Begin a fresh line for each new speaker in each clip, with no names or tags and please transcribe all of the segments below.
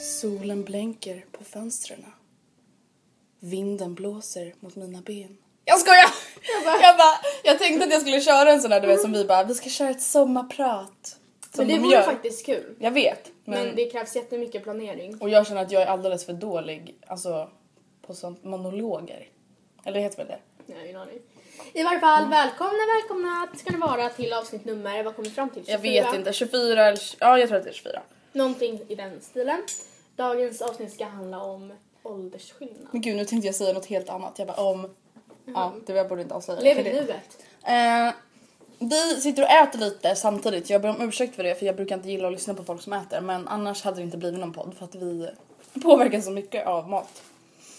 Solen blänker på fönstren. Vinden blåser mot mina ben. Jag skojar! Jag, bara, jag, bara, jag tänkte att jag skulle köra en sån här du vet som vi bara, vi ska köra ett sommarprat. Som
Men det
de
vore
gör.
faktiskt kul.
Jag vet. Men,
Men det krävs jättemycket planering.
Och jag känner att jag är alldeles för dålig alltså, på sånt monologer. Eller heter väl det?
Nej, ingen aning. I varje fall,
Mm.
välkomna, välkomna ska ni vara till avsnitt nummer, vad kommer vi fram till? 24?
Jag vet inte, 24 eller... Ja, jag tror att det är 24.
Någonting i den stilen. Dagens avsnitt ska handla om åldersskillnad.
Men gud, nu tänkte jag säga något helt annat. Jag bara om... Ja, det jag borde inte avslöja. det,
Lev
för
i
det-
nuet.
Eh, vi sitter och äter lite samtidigt. Jag ber om ursäkt för det för jag brukar inte gilla att lyssna på folk som äter men annars hade det inte blivit någon podd för att vi påverkas så mycket av mat.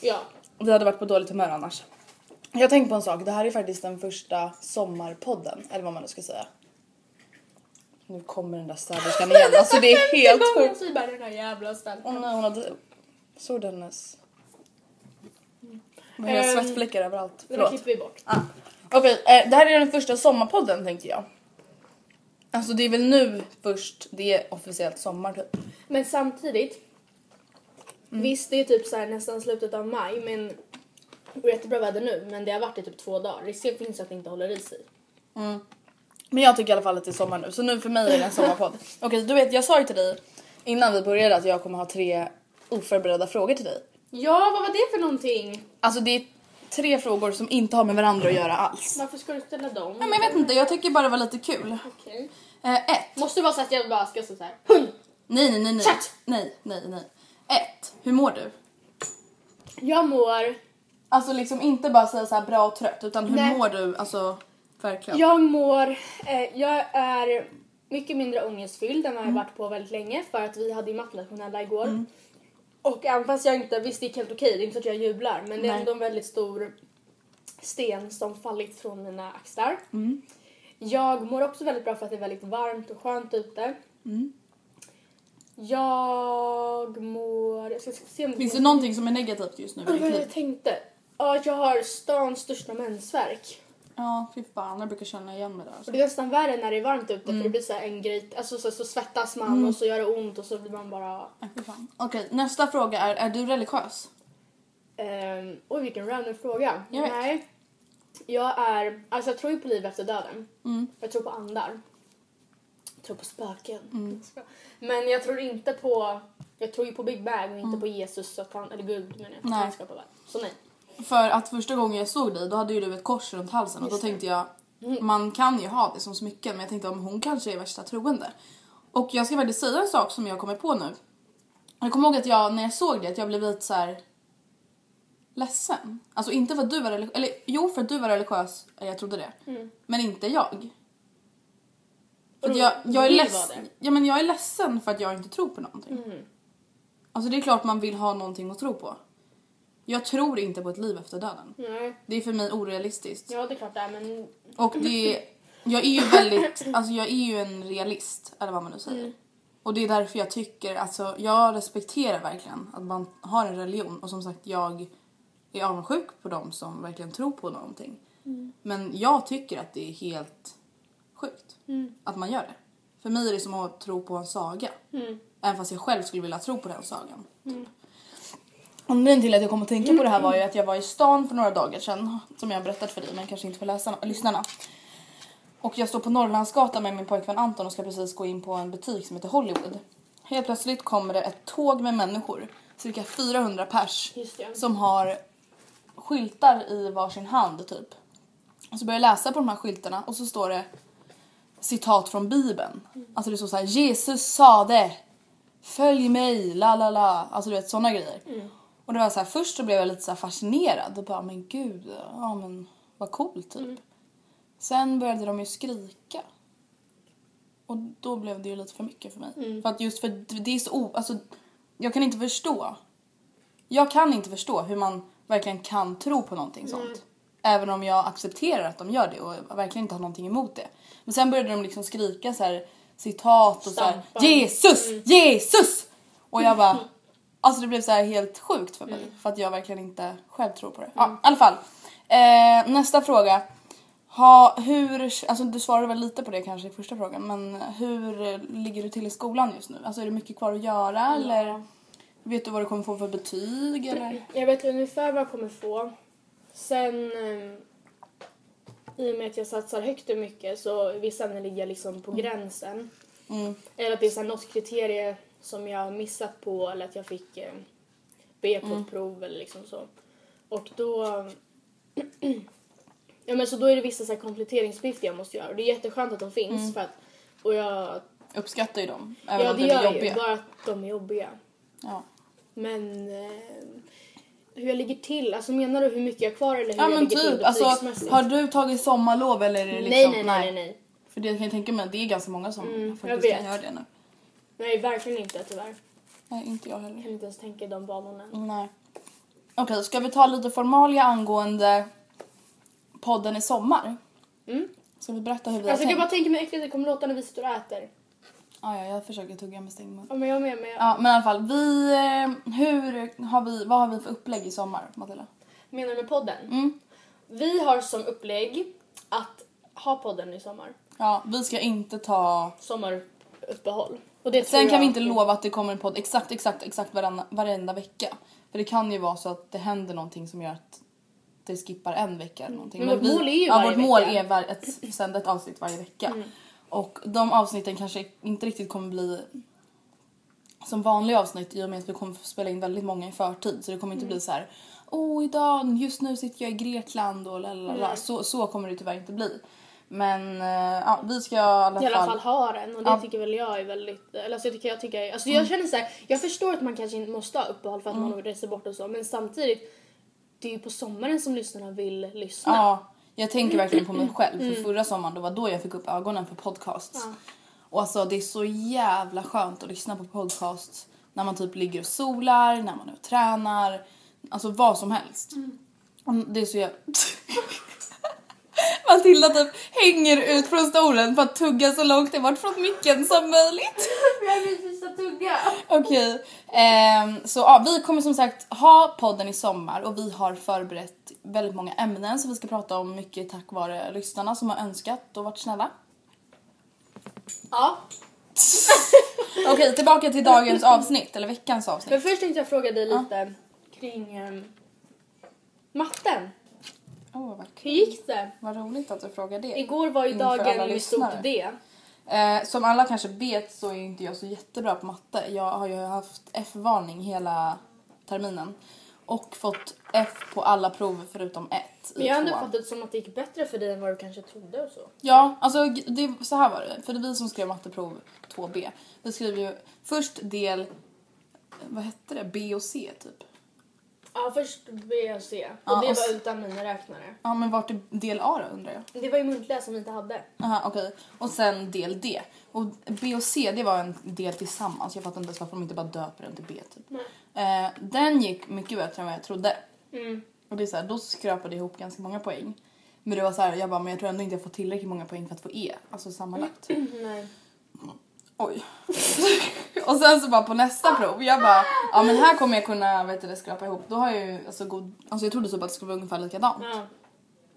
Ja.
Vi hade varit på dåligt humör annars. Jag tänkte på en sak. Det här är faktiskt den första sommarpodden eller vad man nu ska säga. Nu kommer den där städerskan igen. Alltså det är helt sjukt.
sjukt. bara den här jävla stället.
Åh nej, hon hade... Såg du hennes... Mm. Hon har
Ehm,
svettfläckar överallt.
Men det
Förlåt.
klipper vi bort.
Ah. Okej, eh, det här är den första sommarpodden tänker jag. Alltså det är väl nu först det är officiellt sommar typ.
Men samtidigt.
Mm.
Visst, det är typ så här nästan slutet av maj, men och jättebra väder nu, men det har varit i typ två dagar. Risken finns att det inte håller i sig.
Men jag tycker i alla fall att det är sommar nu så nu för mig är det en sommarpodd. Okej, du vet jag sa ju till dig innan vi började att jag kommer ha tre oförberedda frågor till dig.
Ja, vad var det för någonting?
Alltså det är tre frågor som inte har med varandra att göra alls.
Varför ska du ställa dem?
Ja, men jag vet inte, jag tycker bara det var lite kul.
Okej.
Eh, ett.
Måste det vara så att jag bara ska stå såhär.
Nej, nej, nej, nej.
Chat!
Nej, nej, nej. Ett. Hur mår du?
Jag mår...
Alltså liksom inte bara säga så här bra och trött utan hur
Nej.
mår du? Alltså verkligen.
Jag mår... Eh, jag är mycket mindre ångestfylld än vad jag varit på väldigt länge för att vi hade ju mattnationella igår. Och även fast jag inte... Visst, det gick helt okej. Det är inte så att jag jublar men det är
Nej.
ändå en väldigt stor sten som fallit från mina axlar. Jag mår också väldigt bra för att det är väldigt varmt och skönt ute. Mm. Jag mår... Jag ska se om
Finns det någonting som är negativt just nu i
Oj,
ditt
vad jag
liv?
tänkte. Ja, att jag har stans största mensvärk.
Ja, fy fan jag brukar känna igen mig där.
Och
Alltså.
det är nästan värre när det är varmt ute
Mm.
för det blir så här en grej, alltså så, så svettas man och så gör det ont och så blir man bara...
Nej, Äh, fy fan. Okej, nästa fråga är, är du religiös?
ehm, oj vilken random fråga.
Jag vet.
Nej. Jag är, alltså jag tror ju på liv efter döden.
Mm.
Jag tror på andar. Jag tror på spöken.
Mm.
Men jag tror inte på, jag tror ju på Big Bang och inte på Jesus, så att han, eller Gud menar jag, att
Mm. Nej.
han skapade världen. Så nej.
För att första gången jag såg dig då hade ju du ett kors runt Mm. halsen och då tänkte jag man kan ju ha det som smycken men jag tänkte om hon kanske är värsta troende. Och jag ska faktiskt säga en sak som jag kommer på nu. Jag kommer ihåg att jag, när jag såg det, att jag blev lite så här ledsen. Alltså inte för att du var religiös, eller jo för att du var religiös, eller jag trodde det. Men inte jag. Mm. För att
Vadå,
jag, jag, är
vill
leds-
vara det?
ja, men jag är ledsen för att jag inte tror på någonting. Alltså det är klart man vill ha någonting att tro på. Jag tror inte på ett liv efter döden.
Nej.
Det är för mig orealistiskt.
Ja det är klart det är men
Och det... Jag är ju väldigt... Alltså jag är ju en realist, eller vad man nu säger.
Mm.
Och det är därför jag tycker... Alltså jag respekterar verkligen att man har en religion. Och som sagt, jag är avundsjuk på dem som verkligen tror på någonting.
Mm.
Men jag tycker att det är helt sjukt
Mm.
att man gör det. För mig är det som att tro på en saga.
Mm.
Även fast jag själv skulle vilja tro på den sagan. Anledningen till att jag kom att tänka på det här var
Mm.
ju att jag var i stan för några dagar sedan som jag har berättat för dig men kanske inte för läsarna, lyssnarna. Och jag står på Norrlandsgatan med min pojkvän Anton och ska precis gå in på en butik som heter Hollywood. Helt plötsligt kommer det ett tåg med människor, cirka 400 pers,
Just det.
som har skyltar i varsin hand typ. Och så börjar jag läsa på de här skyltarna och så står det citat från bibeln. Alltså det står så här: Jesus sade Följ mig, la la la. Alltså du vet sådana grejer. Och det var så här, först så blev jag lite så här fascinerad och bara men gud, ja men vad coolt typ. Sen började de ju skrika. Och då blev det ju lite för mycket för mig. För att just för det är så o... Alltså, jag kan inte förstå. Jag kan inte förstå hur man verkligen kan tro på någonting sånt. Även om jag accepterar att de gör det och verkligen inte har någonting emot det. Men sen började de liksom skrika så här citat och så här
Stampa. Mm.
Jesus! Jesus! Och jag bara... Alltså det blev så här helt sjukt för mig.
Mm.
För att jag verkligen inte själv tror på det. Ja, i alla fall. Eh, nästa fråga. Ha, hur, alltså du svarade väl lite på det kanske i första frågan men hur eh, ligger du till i skolan just nu? Alltså är det mycket kvar att göra eller vet du vad du kommer få för betyg eller?
Jag vet ungefär vad jag kommer få. Sen eh, i och med att jag satsar högt och mycket så vissa ämnen ligger jag liksom på gränsen. Eller att det är så här något kriterie som jag har missat på eller att jag fick eh, B på ett prov eller liksom så. Och då... ja men så då är det vissa så här kompletteringsuppgifter jag måste göra och det är jätteskönt att de finns för att... Och jag...
Uppskattar ju dem även
Ja
om
det
de är
gör jag ju,
jobbiga.
bara att de är jobbiga.
Ja.
Men eh, hur jag ligger till? Alltså menar du hur mycket jag har kvar eller hur
ja
jag
men
ligger till
typ alltså
betygsmässigt?
har du tagit sommarlov eller är det liksom?
nej, nej, nej, nej, nej.
För det kan jag tänka mig att det är ganska många som
jag
faktiskt
vet.
gör det nu.
Nej, verkligen inte tyvärr.
Nej inte jag heller.
Jag kan inte ens tänka i de banorna.
Nej. Okej, ska vi ta lite formalia angående podden i sommar?
Mm.
Ska vi berätta hur vi
Alltså jag
har
kan bara
tänkt?
tänka mig hur äckligt det kommer låta när vi sitter och äter.
Ah, ja, jag försöker tugga med stängd mun.
Ja men jag med, men jag
Ja, men i alla fall, vi, eh, hur har vi, vad har vi för upplägg i sommar, Matilda?
menar du med podden?
Mm.
Vi har som upplägg att ha podden i sommar.
Ja, vi ska inte ta...
Sommaruppehåll. Och det
Sen
tror
kan vi
jag-
inte lova att det kommer en podd exakt, exakt, exakt varenda, varenda vecka. För det kan ju vara så att det händer någonting som gör att det skippar en vecka eller någonting.
Men vårt mål är ju
ja,
varje
vårt mål
vecka. Mm.
är var, att sända ett avsnitt varje vecka. Och de avsnitten kanske inte riktigt kommer bli som vanliga avsnitt i och med att vi kommer få spela in väldigt många i förtid. Så det kommer inte
Mm.
bli så här. Åh idag, just nu sitter jag i Grekland och lalala.
Mm.
Så, så kommer det tyvärr inte bli. Men eh, ja, vi ska i alla,
i alla
fall
fall har en och det
Ja. Mm.
tycker väl jag är väldigt, eller alltså jag tycker jag tycker, jag- alltså jag känner så här, jag förstår att man kanske inte måste ha uppehåll för att man reser bort och så men samtidigt det är ju på sommaren som lyssnarna vill lyssna.
Ja, jag tänker verkligen på mig själv. För förra sommaren då var då jag fick upp ögonen för podcasts. Och alltså det är så jävla skönt att lyssna på podcasts när man typ ligger och solar, när man är och tränar, alltså vad som helst. Och Det är så jävla... Matilda typ hänger ut från stolen för att tugga så långt bort från micken som möjligt.
Jag vill sluta tugga!
Okej, ehm, så ja, vi kommer som sagt ha podden i sommar och vi har förberett väldigt många ämnen som vi ska prata om mycket tack vare lyssnarna som har önskat och varit snälla.
Ja,
Okej, tillbaka till dagens avsnitt, eller veckans avsnitt.
men först tänkte jag fråga dig lite kring ehm, matten.
Åh, vad, kul.
Hur gick det?
vad roligt att du frågar det.
Igår var ju
Inför Mm, alla
dagen med
lyssnare.
stort D.
Eh, som alla kanske vet så är inte jag så jättebra på matte. Jag har ju haft F-varning hela terminen. och fått F på alla prover förutom ett
Men
i
jag har ändå
tvåan.
fattat det som att det gick bättre för dig än vad du kanske trodde och så.
Ja, alltså g- det, så här var det. För det är vi som skrev matteprov 2B. Vi skrev ju först del, vad hette det, B och C typ.
Ja, först B och C. Och
Ja,
det
och s-
var utan mina räknare.
Ja men vart är del A då undrar jag?
Det var ju muntliga som vi inte hade.
Aha, okej. Och sen del D. Och B och C det var en del tillsammans. Jag fattar inte ens varför de inte bara döper den till B typ. Eh, den gick mycket bättre än vad jag trodde.
Mm.
Och det är så här, då skrapade jag ihop ganska många poäng. Men det var så här, jag bara, men jag tror ändå inte jag får tillräckligt många poäng för att få E. Alltså sammanlagt.
Nej.
Oj. och sen så bara på nästa prov, jag bara, ja men här kommer jag kunna vet du, det, skrapa ihop. Då har jag ju alltså god, alltså jag trodde typ att det skulle vara ungefär likadant.
Ja.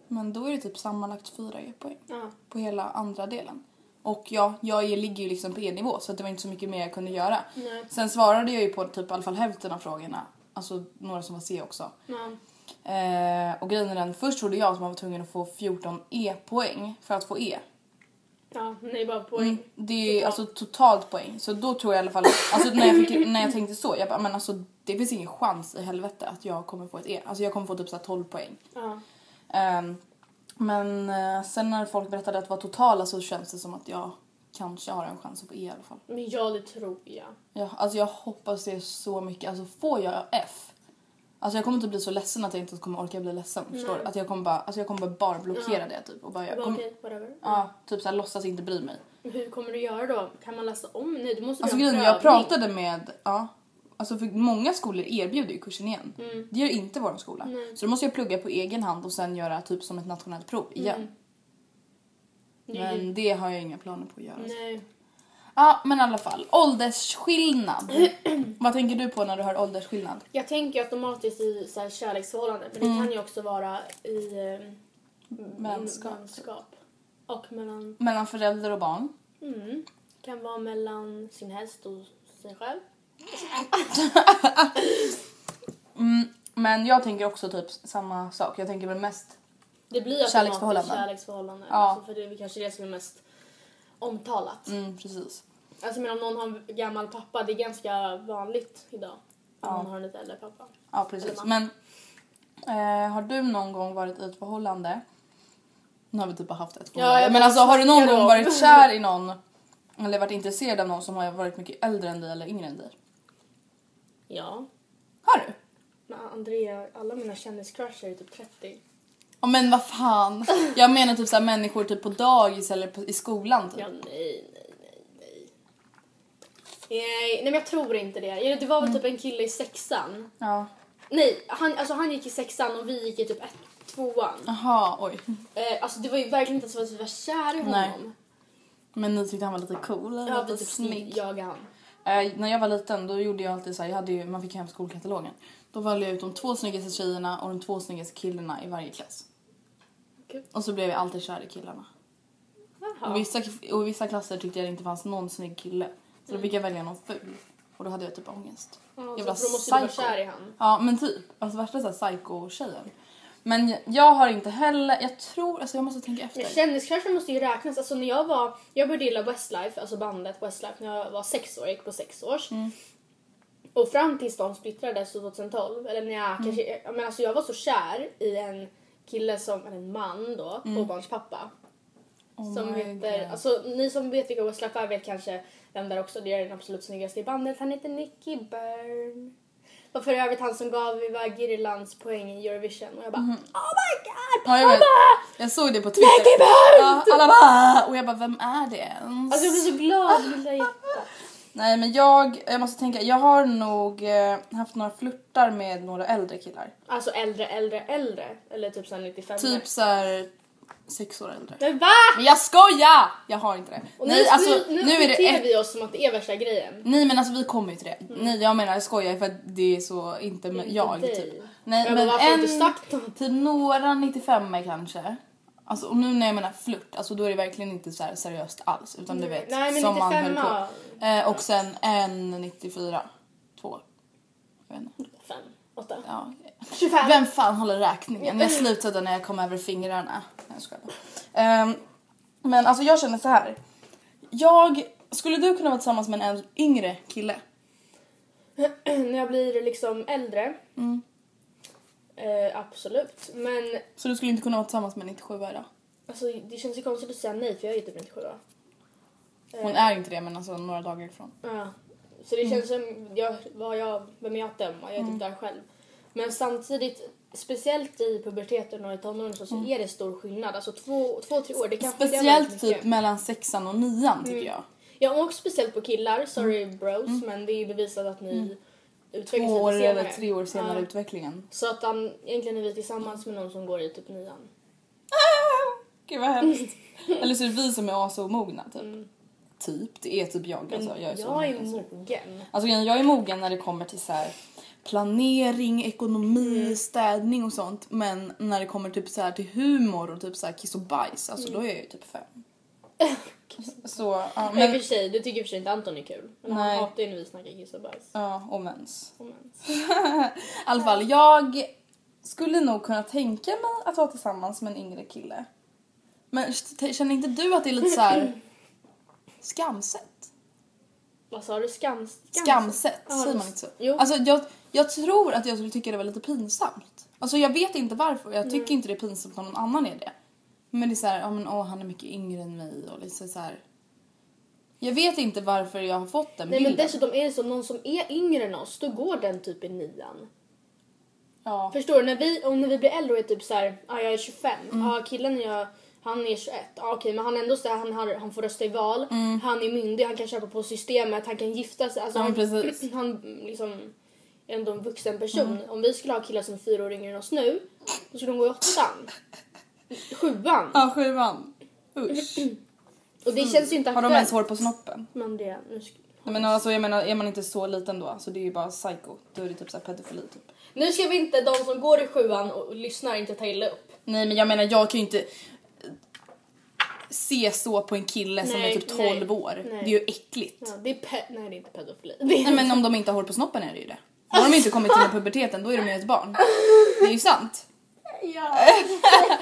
Men då är det typ sammanlagt fyra E-poäng
Ja.
på hela andra delen. Och ja, jag ligger ju liksom på E-nivå så att det var inte så mycket mer jag kunde göra.
Nej.
Sen svarade jag ju på typ i alla fall hälften av frågorna. Alltså några som var C också.
Ja.
Eh, och grejen är den, först trodde jag att man var tvungen att få 14 E-poäng för att få E.
ja. Nej, bara poäng.
Det är ju alltså totalt poäng. Så då tror jag i alla fall, alltså när jag, fick, när jag tänkte så, jag bara, men alltså det finns ingen chans i helvete att jag kommer få ett E. Alltså jag kommer få typ så här 12 poäng.
Ja.
Ehm, men eh, sen när folk berättade att det var totala så känns det som att jag kanske har en chans att få E i alla fall.
Men ja, det tror jag.
Jag, alltså jag hoppas det så mycket. Alltså får jag F? Alltså jag kommer inte bli så ledsen att jag inte ens kommer orka bli ledsen. Förstår du? Att jag kommer bara, alltså jag kommer bara, bara blockera det typ. Och bara, jag
Bara
kommer,
Okej, whatever.
ja, typ såhär låtsas inte bry mig.
Men Hur kommer du göra då? Kan man läsa om? Nej, du måste
Alltså
göra en
grejen är, jag
prövning.
pratade med, ja. Alltså för många skolor erbjuder ju kursen igen.
Mm.
Det gör inte vår skola. Så då måste jag plugga på egen hand och sen göra typ som ett nationellt prov igen.
Mm. Det är ju-
Men det har jag inga planer på att göra.
Nej.
Ja men i alla fall, åldersskillnad. Vad tänker du på när du hör åldersskillnad?
Jag tänker ju automatiskt i så här kärleksförhållanden, men det
Mm.
kan ju också vara i eh,
Vänskap.
vänskap. Och mellan,
Mellan förälder och barn.
mm, kan vara mellan sin häst och sig själv.
Men jag tänker också typ samma sak. Jag tänker väl mest
Det blir automatiskt
Kärleksförhållanden.
kärleksförhållanden. kärleksförhållanden
Ja.
alltså, för det är kanske det som är mest omtalat.
Mm, precis.
Alltså men om någon har en gammal pappa, det är ganska vanligt idag. Om man har en lite äldre pappa.
Ja, precis. Men eh, har du någon gång varit i ett förhållande? Nu har vi typ bara haft ett förhållande.
jag
men
bara
alltså har du någon
snackar
gång
om.
varit kär i någon eller varit intresserad av någon som har varit mycket äldre än dig eller yngre än dig?
Ja.
Har du?
Men Andrea, alla mina kändiscrushar är typ 30.
Ja men vad fan. Jag menar typ så här människor typ på dagis eller på, i skolan typ.
Ja, nej, nej, nej, nej. Nej, nej men jag tror inte det. Det var väl typ en kille i sexan.
Ja.
Nej, han, alltså han gick i sexan och vi gick i typ ett, tvåan.
Jaha, oj.
Eh, alltså det var ju verkligen inte så att vi var kära i honom.
Nej. Men ni tyckte han var lite cool eller
Ja, vi
lite
typ
snygg?
jagade han.
Eh, när jag var liten då gjorde jag alltid så här, jag hade ju, man fick hem skolkatalogen. Då valde jag ut de två snyggaste tjejerna och de två snyggaste killarna i varje klass.
Okej.
Och så blev jag alltid kär i killarna. Och,
Jaha.
vissa, och i vissa klasser tyckte jag det inte fanns någon snygg kille. Så då fick jag välja någon ful. Och då hade jag typ ångest.
Mm. Ja,
Jävla
så då måste du vara
psycho.
kär i han.
Ja men typ. Alltså värsta så här psycho-tjejen. Men jag, jag har inte heller, jag tror, alltså jag måste tänka efter.
Men Kändiscrushen måste ju räknas. Alltså när jag var, jag började gilla Westlife, alltså bandet Westlife när jag var sex år, jag gick på sex års.
Mm.
Och fram tills de splittrades 2012, eller när jag
Mm.
kanske, ja, men alltså jag var så kär i en kille som, eller en man då, tvåbarnspappa. som
Mm. Oh my
heter,
God.
alltså ni som vet vilka Westlife är vet kanske vem där också, det är den absolut snyggaste i bandet. Han heter Nicky Byrne. Och för övrigt han som gav Viva Girlands poäng i Eurovision och jag bara Oh my god!
Mm-hmm. Ja, jag, vet. jag såg det på Twitter. Ja, alla bara, "Ah." och jag bara, vem är det ens?
Alltså jag blir så glad, lilla hjärta.
Nej men jag, jag måste tänka, jag har nog eh, haft några flörtar med några äldre killar.
Alltså äldre, äldre, äldre. Eller typ såhär 95
Typ såhär sex år äldre.
Men va?
Men jag skojar! Jag har inte det.
Och
nej
nu,
alltså
nu,
nu,
nu,
är det
beter
ett...
vi oss som att det är värsta grejen.
Nej men alltså vi kommer ju till det. Nej jag menar jag skojar för att det är så inte med
inte
jag
dig.
typ. Nej
Ja,
men
men varför har
en,
du inte sagt något?
typ några 95 kanske. Alltså och nu när jag menar flört, alltså då är det verkligen inte så här seriöst alls utan du vet
Nej, men
som man höll
95.
på. Eh, och sen en 94, två. Jag vet inte.
Fem, åtta,
Ja.
25.
Vem fan håller räkningen? Jag slutade när jag kom över fingrarna. Nej, jag skojar bara. Ehm, men alltså jag känner så här. Jag, skulle du kunna vara tillsammans med en äldre- yngre kille?
När jag blir liksom äldre Eh, absolut. Men
Så du skulle inte kunna vara tillsammans med en 97 idag?
alltså, det känns ju konstigt att säga nej för jag är ju typ 97 va?
Hon
Eh.
är inte det men alltså några dagar ifrån.
Ja. Så det känns som, jag, vad jag, vem är jag att döma? Jag är
Mm.
typ där själv. Men samtidigt, speciellt i puberteten och i tonåren så, så är det stor skillnad. Alltså två, två tre år. Det kan
Mm.
skilja
Speciellt
väldigt
typ
mycket. Mm.
mellan sexan och nian tycker jag.
Ja, och speciellt på killar. Sorry bros, men det är ju bevisat att ni utvecklas
Mm. Två år
lite senare.
eller tre år senare
Ja.
utvecklingen.
Så att han, egentligen är vi tillsammans med någon som går i typ nian.
Ah, Gud vad hemskt. eller så är det vi som är asobmogna typ. Typ, det är typ jag alltså. Jag är, så
Mm. jag är
mogen, så.
mogen.
Alltså grejen, jag är mogen när det kommer till så här planering, ekonomi,
Mm.
städning och sånt. Men när det kommer typ så här till humor och typ så här kiss och bajs, alltså då är jag ju typ fem. så, ja,
Men
men,
för sig, du tycker i och för sig inte Anton är kul. Men
Nej.
han hatar ju när vi snackar kiss och bajs.
ja, och mens.
Och mens.
I alla fall, jag skulle nog kunna tänka mig att vara tillsammans med en yngre kille. Men t- känner inte du att det är lite så här skamset?
Vad sa du? Skam, skam,
Skamset,
Ja,
säger
det-
man inte så?
Jo.
Alltså jag, jag tror att jag skulle tycka det var lite pinsamt. Alltså jag vet inte varför, jag tycker
Mm.
inte det är pinsamt om någon annan är det. Men det är såhär, ja men åh han är mycket yngre än mig och liksom så här. Jag vet inte varför jag har fått den
Nej men
bilden.
dessutom är det som någon som är yngre än oss, då går den typ i nian.
ja.
Förstår du? När vi, och när vi blir äldre och är typ såhär, ah, jag är 25,
Mm.
ah, killen jag, han är 21, ah, okej men han är ändå såhär, han, har, han får rösta i val, han är myndig, han kan köpa på systemet, han kan gifta sig. Alltså,
Mm. Ja, men
han,
precis. Mm.
han liksom är ändå en vuxen person. Om vi skulle ha killar som är fyra år yngre än oss nu, då skulle de gå i åttan. Sjuan.
Ja, sjuan. Usch.
Och det känns ju inte
Mm. Har de ens hår på snoppen?
Men det, nu ska,
Nej, men alltså, jag menar, är man inte så liten då? Alltså, det är ju bara psycho. Då är det typ så här pedofili typ.
nu ska vi inte de som går i sjuan och, och lyssnar inte ta illa upp.
Nej men jag menar jag kan ju inte se så på en kille som är
Nej,
typ 12
nej,
år.
nej.
Det är ju äckligt.
Ja, det är pe- nej det är inte pedofili. Det är
Nej men om de inte har hår på snoppen är det ju det. Då har de inte kommit till puberteten, då är de ju ett barn. Det är ju sant. Ja.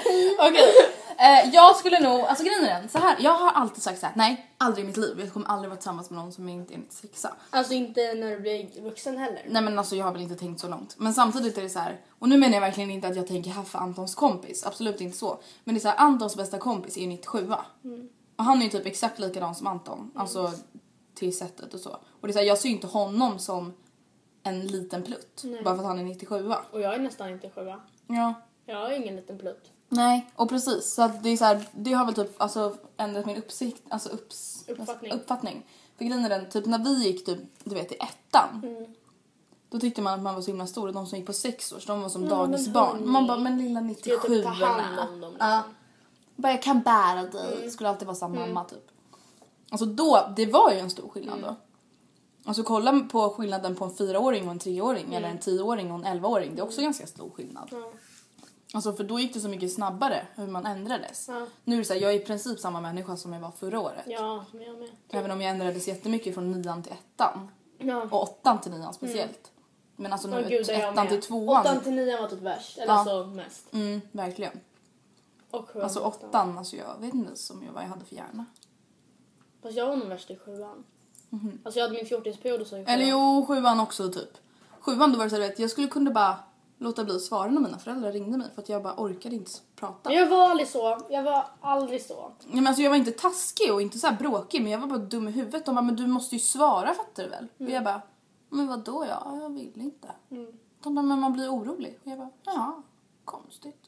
Okej. Eh, jag skulle nog, alltså grejen är den, så här. jag har alltid sagt så här: nej aldrig i mitt liv, jag kommer aldrig vara tillsammans med någon som inte är mitt sexa.
Alltså inte när du blir vuxen heller.
Nej men alltså jag har väl inte tänkt så långt. Men samtidigt är det så här. och nu menar jag verkligen inte att jag tänker här för Antons kompis, absolut inte så. Men det är så här, Antons bästa kompis är ju 97 Och han är ju typ exakt likadan som Anton, alltså till sättet och så. Och det är så här, jag ser ju inte honom som en liten plutt, bara för att han är 97
Och jag är nästan inte sjua.
Ja.
Jag är ingen liten plutt.
Nej, och precis. Så att det är så här, det har väl typ alltså, ändrat min uppsikt, alltså upps,
Uppfattning.
uppfattning. För grejen är den, typ när vi gick typ, du vet i ettan.
Mm.
Då tyckte man att man var så himla stor och de som gick på sex år, så de var som dagisbarn.
hörni,
Man bara, men lilla 97
jag typ ta hand om dem, liksom? Mm.
Ja. Bara jag kan bära dig. Skulle alltid vara samma mamma typ. Alltså då, det var ju en stor skillnad
Mm.
då. Alltså kolla på skillnaden på en fyraåring och en treåring
Mm.
eller en tioåring och en elvaåring. Det är också ganska stor skillnad. Alltså för då gick det så mycket snabbare hur man ändrades. Nu är det så här, jag är i princip samma människa som jag var förra året.
Ja, men jag med.
Även om jag ändrades jättemycket från nian till ettan.
Ja.
Och åttan till nian speciellt. Men alltså nu
Åh, Mm. gud, där är jag
ettan
med.
till tvåan.
Åttan till nian var typ värst. Eller
Ja.
alltså mest.
Mm, verkligen.
Och sjuan.
Alltså
var nästan.
åttan, alltså jag vet inte som jag, vad jag hade för hjärna.
Fast jag var nog värst i sjuan. Alltså jag hade min 14-årsperiod och så i
Mhm. Eller
sjuan.
jo, sjuan också typ. Sjuan då var det så här, du vet, jag skulle kunna bara låta bli att svara när mina föräldrar ringde mig för att jag bara orkade inte prata.
Men jag var aldrig så. Jag var aldrig så.
Nej, men alltså, jag var inte taskig och inte så här bråkig men jag var bara dum i huvudet. De bara, men du måste ju svara fattar du väl?
Mm.
Och jag bara, men vadå ja, jag vill inte. De bara, men man blir orolig. Och jag bara, ja, konstigt.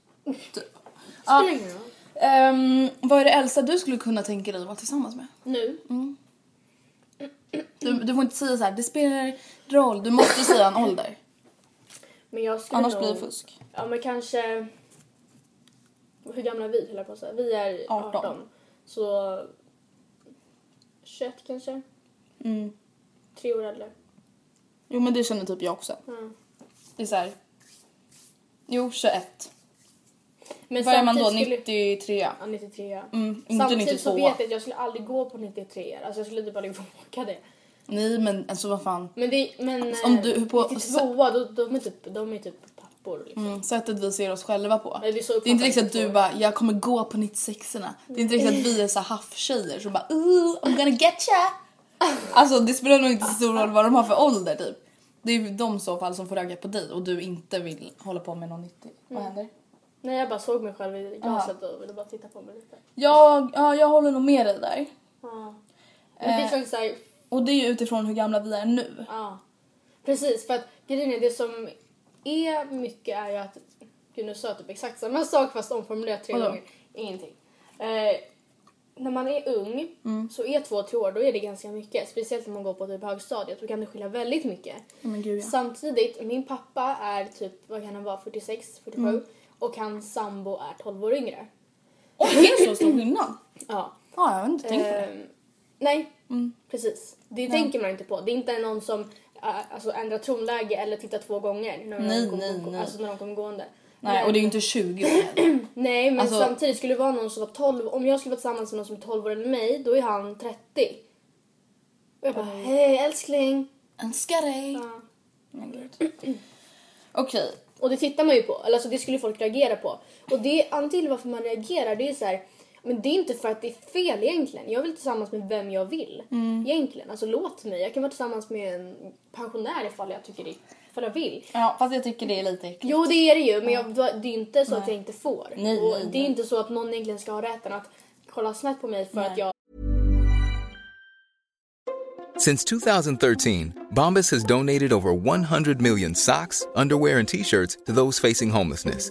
typ. Ja,
Spelar ingen roll.
ehm, vad är det äldsta du skulle kunna tänka dig att vara tillsammans med?
Nu.
Mm. Du,
Mm.
du får inte säga så här, det spelar roll, du måste säga en ålder.
Men jag skulle
Annars
nog...
blir det fusk.
Ja men kanske... Hur gamla är vi höll jag på att säga. Vi är 18.
18.
Så... 21 kanske?
Mm.
Tre år äldre.
Jo men det känner typ jag också.
Mm.
Det är såhär. Jo 21.
Men
Vad är man då?
samtidigt skulle-
93?
Ja, 93 ja.
Mm, inte
Samtidigt
92.
så vet jag att jag skulle aldrig gå på 93 Alltså jag skulle typ aldrig våga det.
Nej men alltså vad fan.
Men det men...
Alltså, Om du- på-
92 då, de, är typ, de är typ pappor liksom.
Mm, sättet vi ser oss själva på.
Nej, det är så
det är inte riktigt att du
uppfattat.
bara jag kommer gå på 96orna. Det är inte riktigt att vi är så här haff-tjejer som bara ooh I'm gonna get ya. Alltså det spelar nog inte så stor roll vad de har för ålder typ. Det är ju de i så fall som får öga på dig och du inte vill hålla på med någon nyttig. Vad
Mm.
händer?
Nej jag bara såg mig själv i glaset och ville bara titta på mig lite.
Jag, ja, jag håller nog med dig där.
Ja. Men det
Eh.
känns såhär,
Och det är ju utifrån hur gamla vi är nu.
ja. Precis för att grejen är det som är mycket är ju att, gud nu sa jag typ exakt samma sak fast omformulerat tre
Vadå?
gånger. Ingenting. Eh, när man är ung
Mm.
så är två, tre år då är det ganska mycket. Speciellt när man går på typ högstadiet då kan det skilja väldigt mycket.
men gud, ja.
Samtidigt, min pappa är typ, vad kan han vara, 46, 47
Mm.
och hans sambo är 12 år yngre.
Oj, det är så stor skillnad.
Ja.
Ja, jag har inte tänkt på det.
Ehm, Nej,
Mm.
precis. Det tänker man inte på. Det är inte någon som äh, alltså, ändrar tonläge eller tittar två gånger när
Nej,
de kommer,
nej, nej.
Alltså, när de kommer gående.
Nej, och det är ju inte 20 år heller.
Nej, men
alltså-
samtidigt skulle det vara någon som var 12. Om jag skulle vara tillsammans med någon som är 12 år än mig, då är han 30. Och jag bara, hej älskling.
Önskar dig.
Ja.
Men gud. Okej.
Och det tittar man ju på. Eller alltså det skulle folk reagera på. Och det anledningen till varför man reagerar det är så här. Men det är inte för att det är fel egentligen. Jag vill tillsammans med vem jag vill.
Mm.
Egentligen. Alltså låt mig. Jag kan vara tillsammans med en pensionär ifall jag tycker det. Ifall jag vill.
Ja, fast jag tycker det är lite äckligt.
Jo det är det ju men jag, det är ju inte så att jag inte får.
Nej,
och
nej,
det är
nej.
inte så att någon egentligen ska ha rätten att kolla snett på mig för att jag
Since 2013, Bombas has donated over 100 million socks, underwear, and t shirts to those facing homelessness.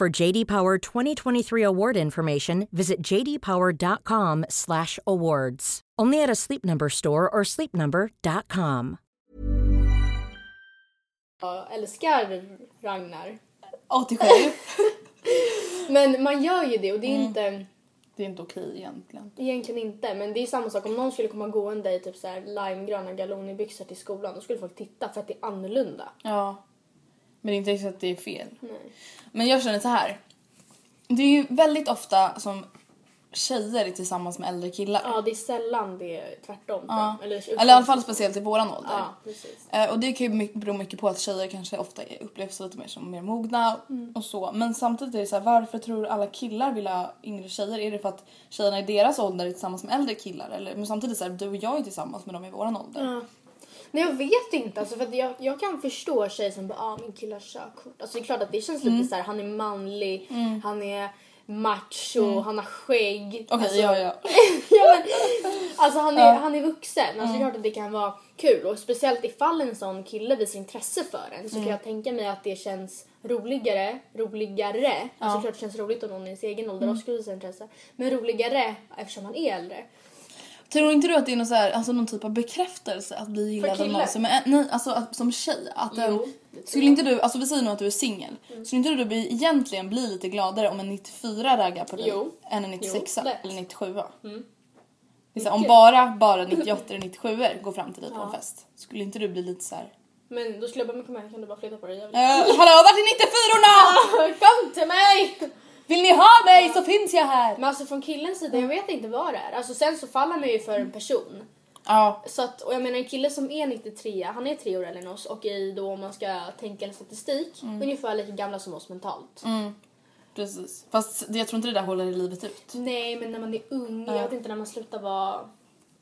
For JD Power 2023 award information, visit jdpower.com/awards. Only at a Sleep Number store or sleepnumber.com.
jag älskar Ragnar.
ATG.
Men man gör ju det och det är
Mm.
inte
det är inte okej egentligen.
Egentligen inte, men det är samma sak om någon skulle komma gående i typ så här limegröna galonibyxor till skolan, då skulle folk titta för att det är annorlunda.
Ja. Men det är inte riktigt att det är fel. Men jag känner så här. Det är ju väldigt ofta som tjejer är tillsammans med äldre killar.
Ja, det är sällan det är
Ja.
tvärtom. tror jag.
Eller, i alla fall speciellt i våran ålder.
Ja, precis.
Eh, och det kan ju my- bero mycket på att tjejer kanske ofta är- upplevs lite mer som mer mogna
Mm.
och så. Men samtidigt är det så här, varför tror alla killar vill ha yngre tjejer? Är det för att tjejerna i deras ålder är tillsammans med äldre killar? Eller, men samtidigt så här, du och jag är tillsammans med dem i våran ålder.
Nej, jag vet inte. Alltså, för att jag, jag kan förstå tjejer som bara ah, min kille har körkort. Alltså, det är klart att det känns
Mm.
lite så här, han är manlig, han är macho, han har skägg.
Mm. Okej,
alltså,
ja, ja.
ja, men, alltså han är, han är vuxen. Alltså, Det är klart att det kan vara kul. Och speciellt ifall en sån kille visar intresse för en så kan jag tänka mig att det känns roligare. Roligare. Alltså klart det känns roligt om någon i ens egen ålder också skulle visa intresse. Men roligare eftersom han är äldre.
Tror inte du att det är någon, så här, alltså någon typ av bekräftelse att bli gillad av
kille?
någon som, är, nej, alltså, att, som tjej? Att,
Jo,
eh,
det tror
skulle
jag. Mm.
inte du, alltså vi säger nu att du är singel. Skulle inte du bli, egentligen bli lite gladare om en 94 raggar på dig
Jo.
än en 96
Jo, lätt. Mm.
eller 97? Det är så här, om bara, bara 98 eller 97 går fram till dig på en fest. Skulle inte du bli lite så här.
Men då skulle jag bara, men kom här kan du bara flytta på dig? Jag vill...
Eh, hallå vart är 94orna?
Kom till mig!
Vill ni ha mig så finns jag här!
Men alltså från killens sida, jag vet inte vad det är. Alltså sen så faller man ju för en person.
Ja.
Så att, och jag menar en kille som är 93, han är tre år äldre än oss
Mm.
och är då om man ska tänka en statistik ungefär lika gamla som oss mentalt.
Precis. Fast det- jag tror inte det där håller i livet ut.
Nej, men när man är ung. Jag vet inte när man slutar vara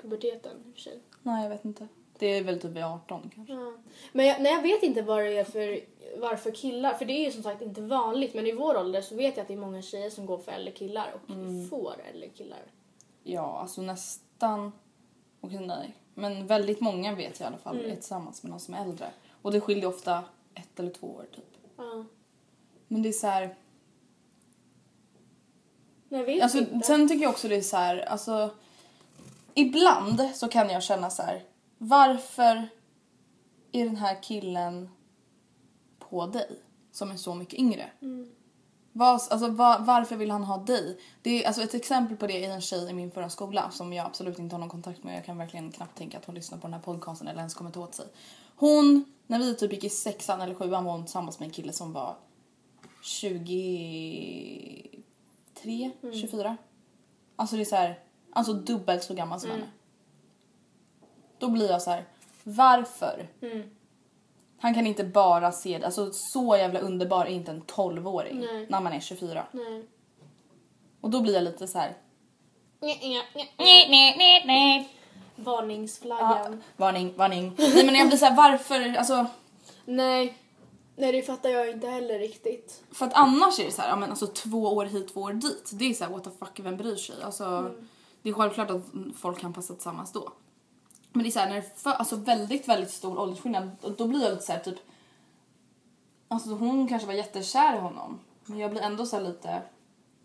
puberteten i och för sig.
Nej, jag vet inte. Det är väl typ vid 18 kanske.
Ja. Men jag, nej, jag vet inte vad det är för, varför killar, för det är ju som sagt inte vanligt, men i vår ålder så vet jag att det är många tjejer som går för äldre killar och
Mm.
får äldre killar.
Ja, alltså nästan... Okej, nej. Men väldigt många vet jag i alla fall är tillsammans med någon som är äldre. Och det skiljer ofta ett eller två år typ.
Ja.
Men det är så här...
Men jag vet
Alltså,
inte.
sen tycker jag också det är så här, alltså ibland så kan jag känna så här, varför är den här killen på dig som är så mycket yngre? Vad- alltså, va- varför vill han ha dig? Det är, alltså, ett exempel på det är en tjej i min förra skola som jag absolut inte har någon kontakt med. Jag kan verkligen knappt tänka att hon lyssnar på den här podcasten eller ens kommer ta åt sig. Hon, när vi typ gick i sexan eller sjuan var hon tillsammans med en kille som var 23,
Mm.
24. Alltså det är så här, alltså dubbelt så gammal
Mm.
som henne. Då blir jag så här, varför?
Mm.
Han kan inte bara se det, alltså så jävla underbar är inte en 12-åring
Nej.
när man är 24.
Nej.
Och då blir jag lite så här,
Varningsflaggan.
"Ah, varning, varning. Nej men jag blir så här, varför? Alltså,
Nej. Nej, det fattar jag inte heller riktigt.
för att annars är det så här, ja men alltså två år hit, två år dit. Det är så här, what the fuck, vem bryr sig? Alltså,
Mm.
det är självklart att folk kan passa tillsammans då. Men det är så här, när det är för, alltså väldigt, väldigt stor åldersskillnad, då- då blir jag lite så här typ... Alltså hon kanske var jättekär i honom, men jag blir ändå så här lite...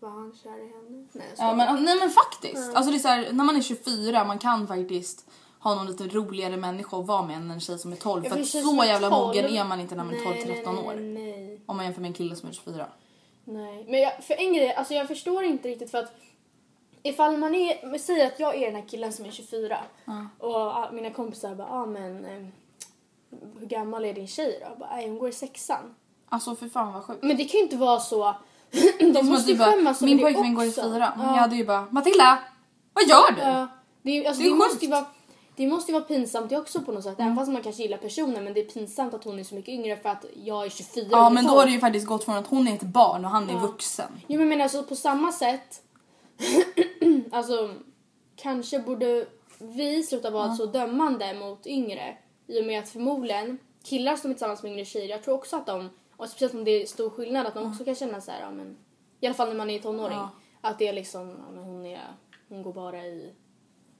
Var han kär i henne? Nej, jag
Ja,
skojar. Mm.
men, nej men faktiskt. Alltså det är så här, när man är 24 man kan faktiskt ha någon lite roligare människa att vara med än en tjej som är 12.
Ja,
För
det
att
känns
så
som
jävla
12.
mogen är man inte när man är
Nej,
12
nej,
till 13
nej,
år.
Nej.
Om man jämför med en kille som är 24.
Nej, men jag, för en grej, alltså jag förstår inte riktigt för att ifall man är, men säg att jag är den här killen som är 24 och ah, mina kompisar bara, ah men eh, hur gammal är din tjej då? Jag Bara, "Nej, hon går i sexan.
Alltså för fan vad sjukt.
Men det kan ju inte vara så,
Det är
de
som att
måste
du
ju
bara,
skämmas över
min
det
pojkvän går i
också."
fyran.
Ja.
Jag hade ju bara, Matilda! Vad gör du?
Ja. Det, är- alltså,
Det
det,
är sjukt. Mm.
måste ju vara, det måste ju vara pinsamt det också på något sätt, även fast man kanske gillar personen men det är pinsamt att hon är så mycket yngre för att jag är 24 och
Ja
hon är
men då
12.
har det ju faktiskt gått från att hon är ett barn och han är vuxen.
Jo men jag menar alltså på samma sätt, alltså kanske borde vi sluta vara så dömande mot yngre i och med att förmodligen killar som är tillsammans med yngre tjejer, jag tror också att de, och speciellt om det är stor skillnad, att de också kan känna så här, ja men i alla fall när man är tonåring, att det är liksom, ja men hon är, hon går bara i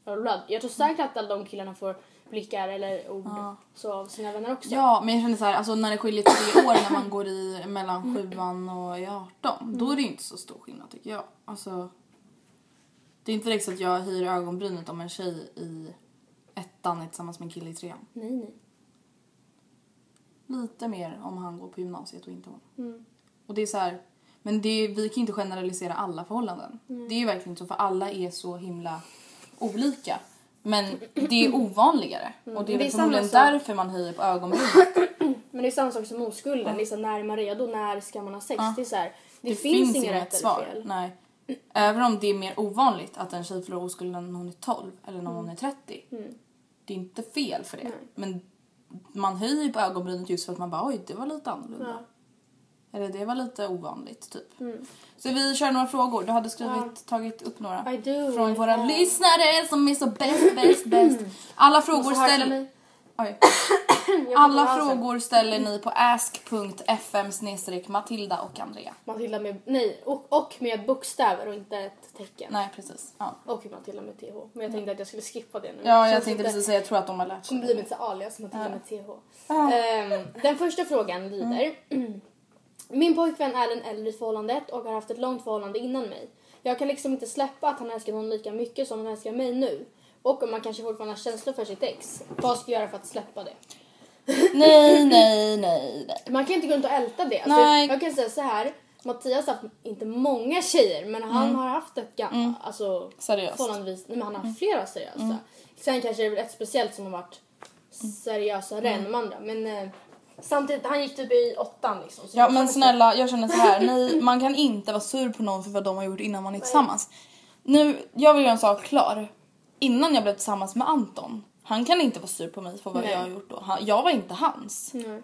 bla, bla, bla. jag tror säkert att alla de killarna får blickar eller ord så av sina vänner också.
Ja men jag känner så här, alltså när det skiljer tre år när man går i
Mm.
mellan sjuan och är 18. Då är det ju inte så stor skillnad tycker jag. Alltså, det är inte riktigt så att jag höjer ögonbrynet om en tjej i ettan är tillsammans med en kille i trean.
Nej nej.
Lite mer om han går på gymnasiet och inte hon.
Mm.
Och det är så här, men det, vi kan ju inte generalisera alla förhållanden.
Mm.
Det är ju verkligen så för alla är så himla olika. Men det är ovanligare. Och det är
Mm. Det
väl
är samma
förmodligen
sak.
därför man höjer på ögonbrynen.
Men det är samma sak som oskulden. Det är så här, när är man redo? När ska man ha sex? Det, är så här, det,
Det
finns, inga rätt
svar.
eller fel.
Nej. Även om det är mer ovanligt att en tjej förlorar oskulden när hon är 12 eller när
Mm.
hon är 30. Det är inte fel för det. Men man höjer ju på ögonbrynet just för att man bara oj, det var lite annorlunda. Eller det var lite ovanligt typ.
Mm.
Så vi kör några frågor. Du hade skrivit, tagit upp några.
I do,
från
I
våra
have.
lyssnare som är så bäst, bäst, bäst. Alla frågor
härka
ställer...
mig.
Oj.
Jag alltså får
Alla
ta halsen.
frågor ställer ni på ask.fm Matilda och Andrea.
Matilda med, nej, och, och med bokstäver och inte ett tecken.
Nej precis. Ja.
Och Matilda med TH. Men jag tänkte att jag skulle skippa det nu.
Ja, jag
Känns
tänkte
lite-
precis säga, jag tror att de har lärt sig.
Hon blir mitt alias Matilda med TH. Ehm, den första frågan lyder. Min pojkvän är den äldre i förhållandet och har haft ett långt förhållande innan mig. Jag kan liksom inte släppa att han älskar någon lika mycket som han älskar mig nu. Och om man kanske fortfarande har känslor för sitt ex. Vad ska jag göra för att släppa det?
Nej, nej, nej, nej.
Man kan inte gå runt och älta det. Alltså,
Nej.
Jag kan säga så här. Mattias har haft, inte många tjejer, men han har haft ett gam- alltså,
Mm. Seriöst. Mm.
förhållandevis, nej, men han har haft flera seriösa. Sen kanske det är väl ett speciellt som har varit
Mm.
seriösare än de andra. Men eh, samtidigt, han gick typ i åttan liksom. så
Ja
jag
men
fattar
snälla, jag känner så här. Ni, man kan inte vara sur på någon för vad de har gjort innan man är tillsammans. Nu, jag vill göra en sak klar. Innan jag blev tillsammans med Anton, han kan inte vara sur på mig för vad
Nej.
jag har gjort då. Han, jag var inte hans.
inte. Nej.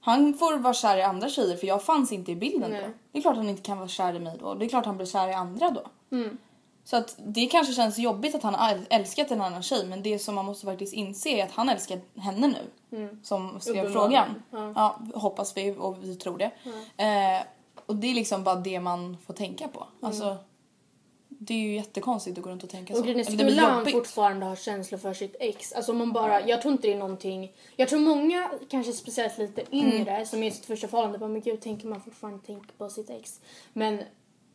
Han får vara kär i andra tjejer för jag fanns inte i bilden
Nej.
då. Det är klart han inte kan vara kär i mig då. Det är klart han blir kär i andra då.
Mm.
Så att det kanske känns jobbigt att han har äl- älskat en annan tjej men det som man måste faktiskt inse är att han älskar henne nu. Som skrev
Mm. Uppenbarligen,
frågan. Ja. hoppas vi och vi tror det. Eh, och det är liksom bara det man får tänka på.
Mm.
Alltså, det är ju jättekonstigt att gå runt och tänka
Och
så.
grejen är,
Eller det blir
skulle han
jobbigt.
fortfarande ha känslor för sitt ex? Alltså om man bara, jag tror inte det är någonting. Jag tror många, kanske speciellt lite
Mm.
yngre, som är i sitt första förhållande, bara men gud tänker man fortfarande tänka på sitt ex? Men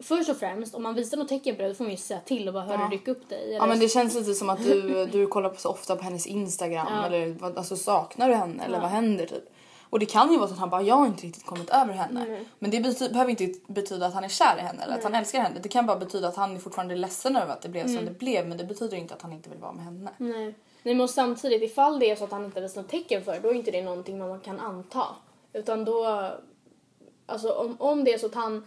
först och främst, om man visar något tecken på det, då får man ju säga till och bara hörru ryck upp dig. Eller,
Ja men det känns lite som att du, du kollar på så ofta på hennes instagram eller vad- alltså saknar du henne eller vad händer typ. Och det kan ju vara så att han bara jag har inte riktigt kommit över henne. Men det bety- behöver inte betyda att han är kär i henne eller att han älskar henne. Det kan bara betyda att han är fortfarande ledsen över att det blev
Mm.
som det blev men det betyder inte att han inte vill vara med henne.
Nej. Nej men och samtidigt, ifall det är så att han inte visar något tecken för det, då är inte det någonting man kan anta. Utan då, alltså om, om det är så att han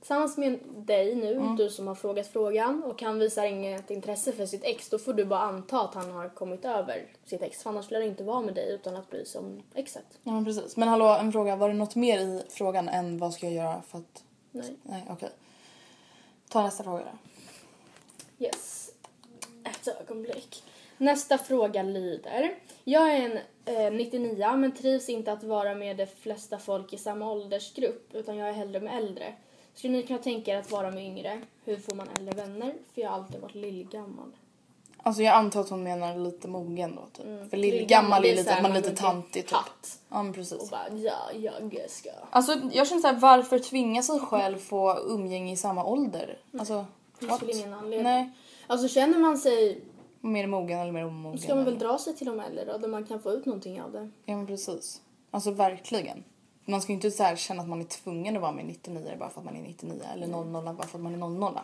tillsammans med dig nu, du som har frågat frågan, och han visar inget intresse för sitt ex, då får du bara anta att han har kommit över sitt ex. För annars skulle han inte vara med dig utan att bry sig om exet.
Ja men precis. Men hallå en fråga, var det något mer i frågan än vad ska jag göra för att...
Nej.
Nej okej. Ta nästa fråga då.
Yes. Ett ögonblick. Nästa fråga lyder. Jag är en eh, 99 men trivs inte att vara med de flesta folk i samma åldersgrupp utan jag är hellre med äldre. Skulle ni kunna tänka er att vara med yngre? Hur får man äldre vänner? För jag har alltid varit lillgammal.
Alltså jag antar att hon menar lite mogen då typ. För lillgammal
Lillgammal, Mm. det
är
är så
lite,
här,
man är
man
lite
går till
tantig typ.
hatt.
Ja men precis.
Och bara ja, jag ska.
Alltså jag känner såhär, varför tvinga sig själv få umgänge i samma ålder? Alltså,
Mm. Det
what?
finns väl ingen anledning.
Nej.
Alltså känner man sig,
Mer mogen eller mer
då
omogen.
ska man väl
eller-
dra sig till de äldre då, där man kan få ut någonting av det.
Ja men precis. Alltså verkligen. Man ska ju inte så här känna att man är tvungen att vara med 99 bara för att man är 99
Mm.
eller 00 bara för att man är 00.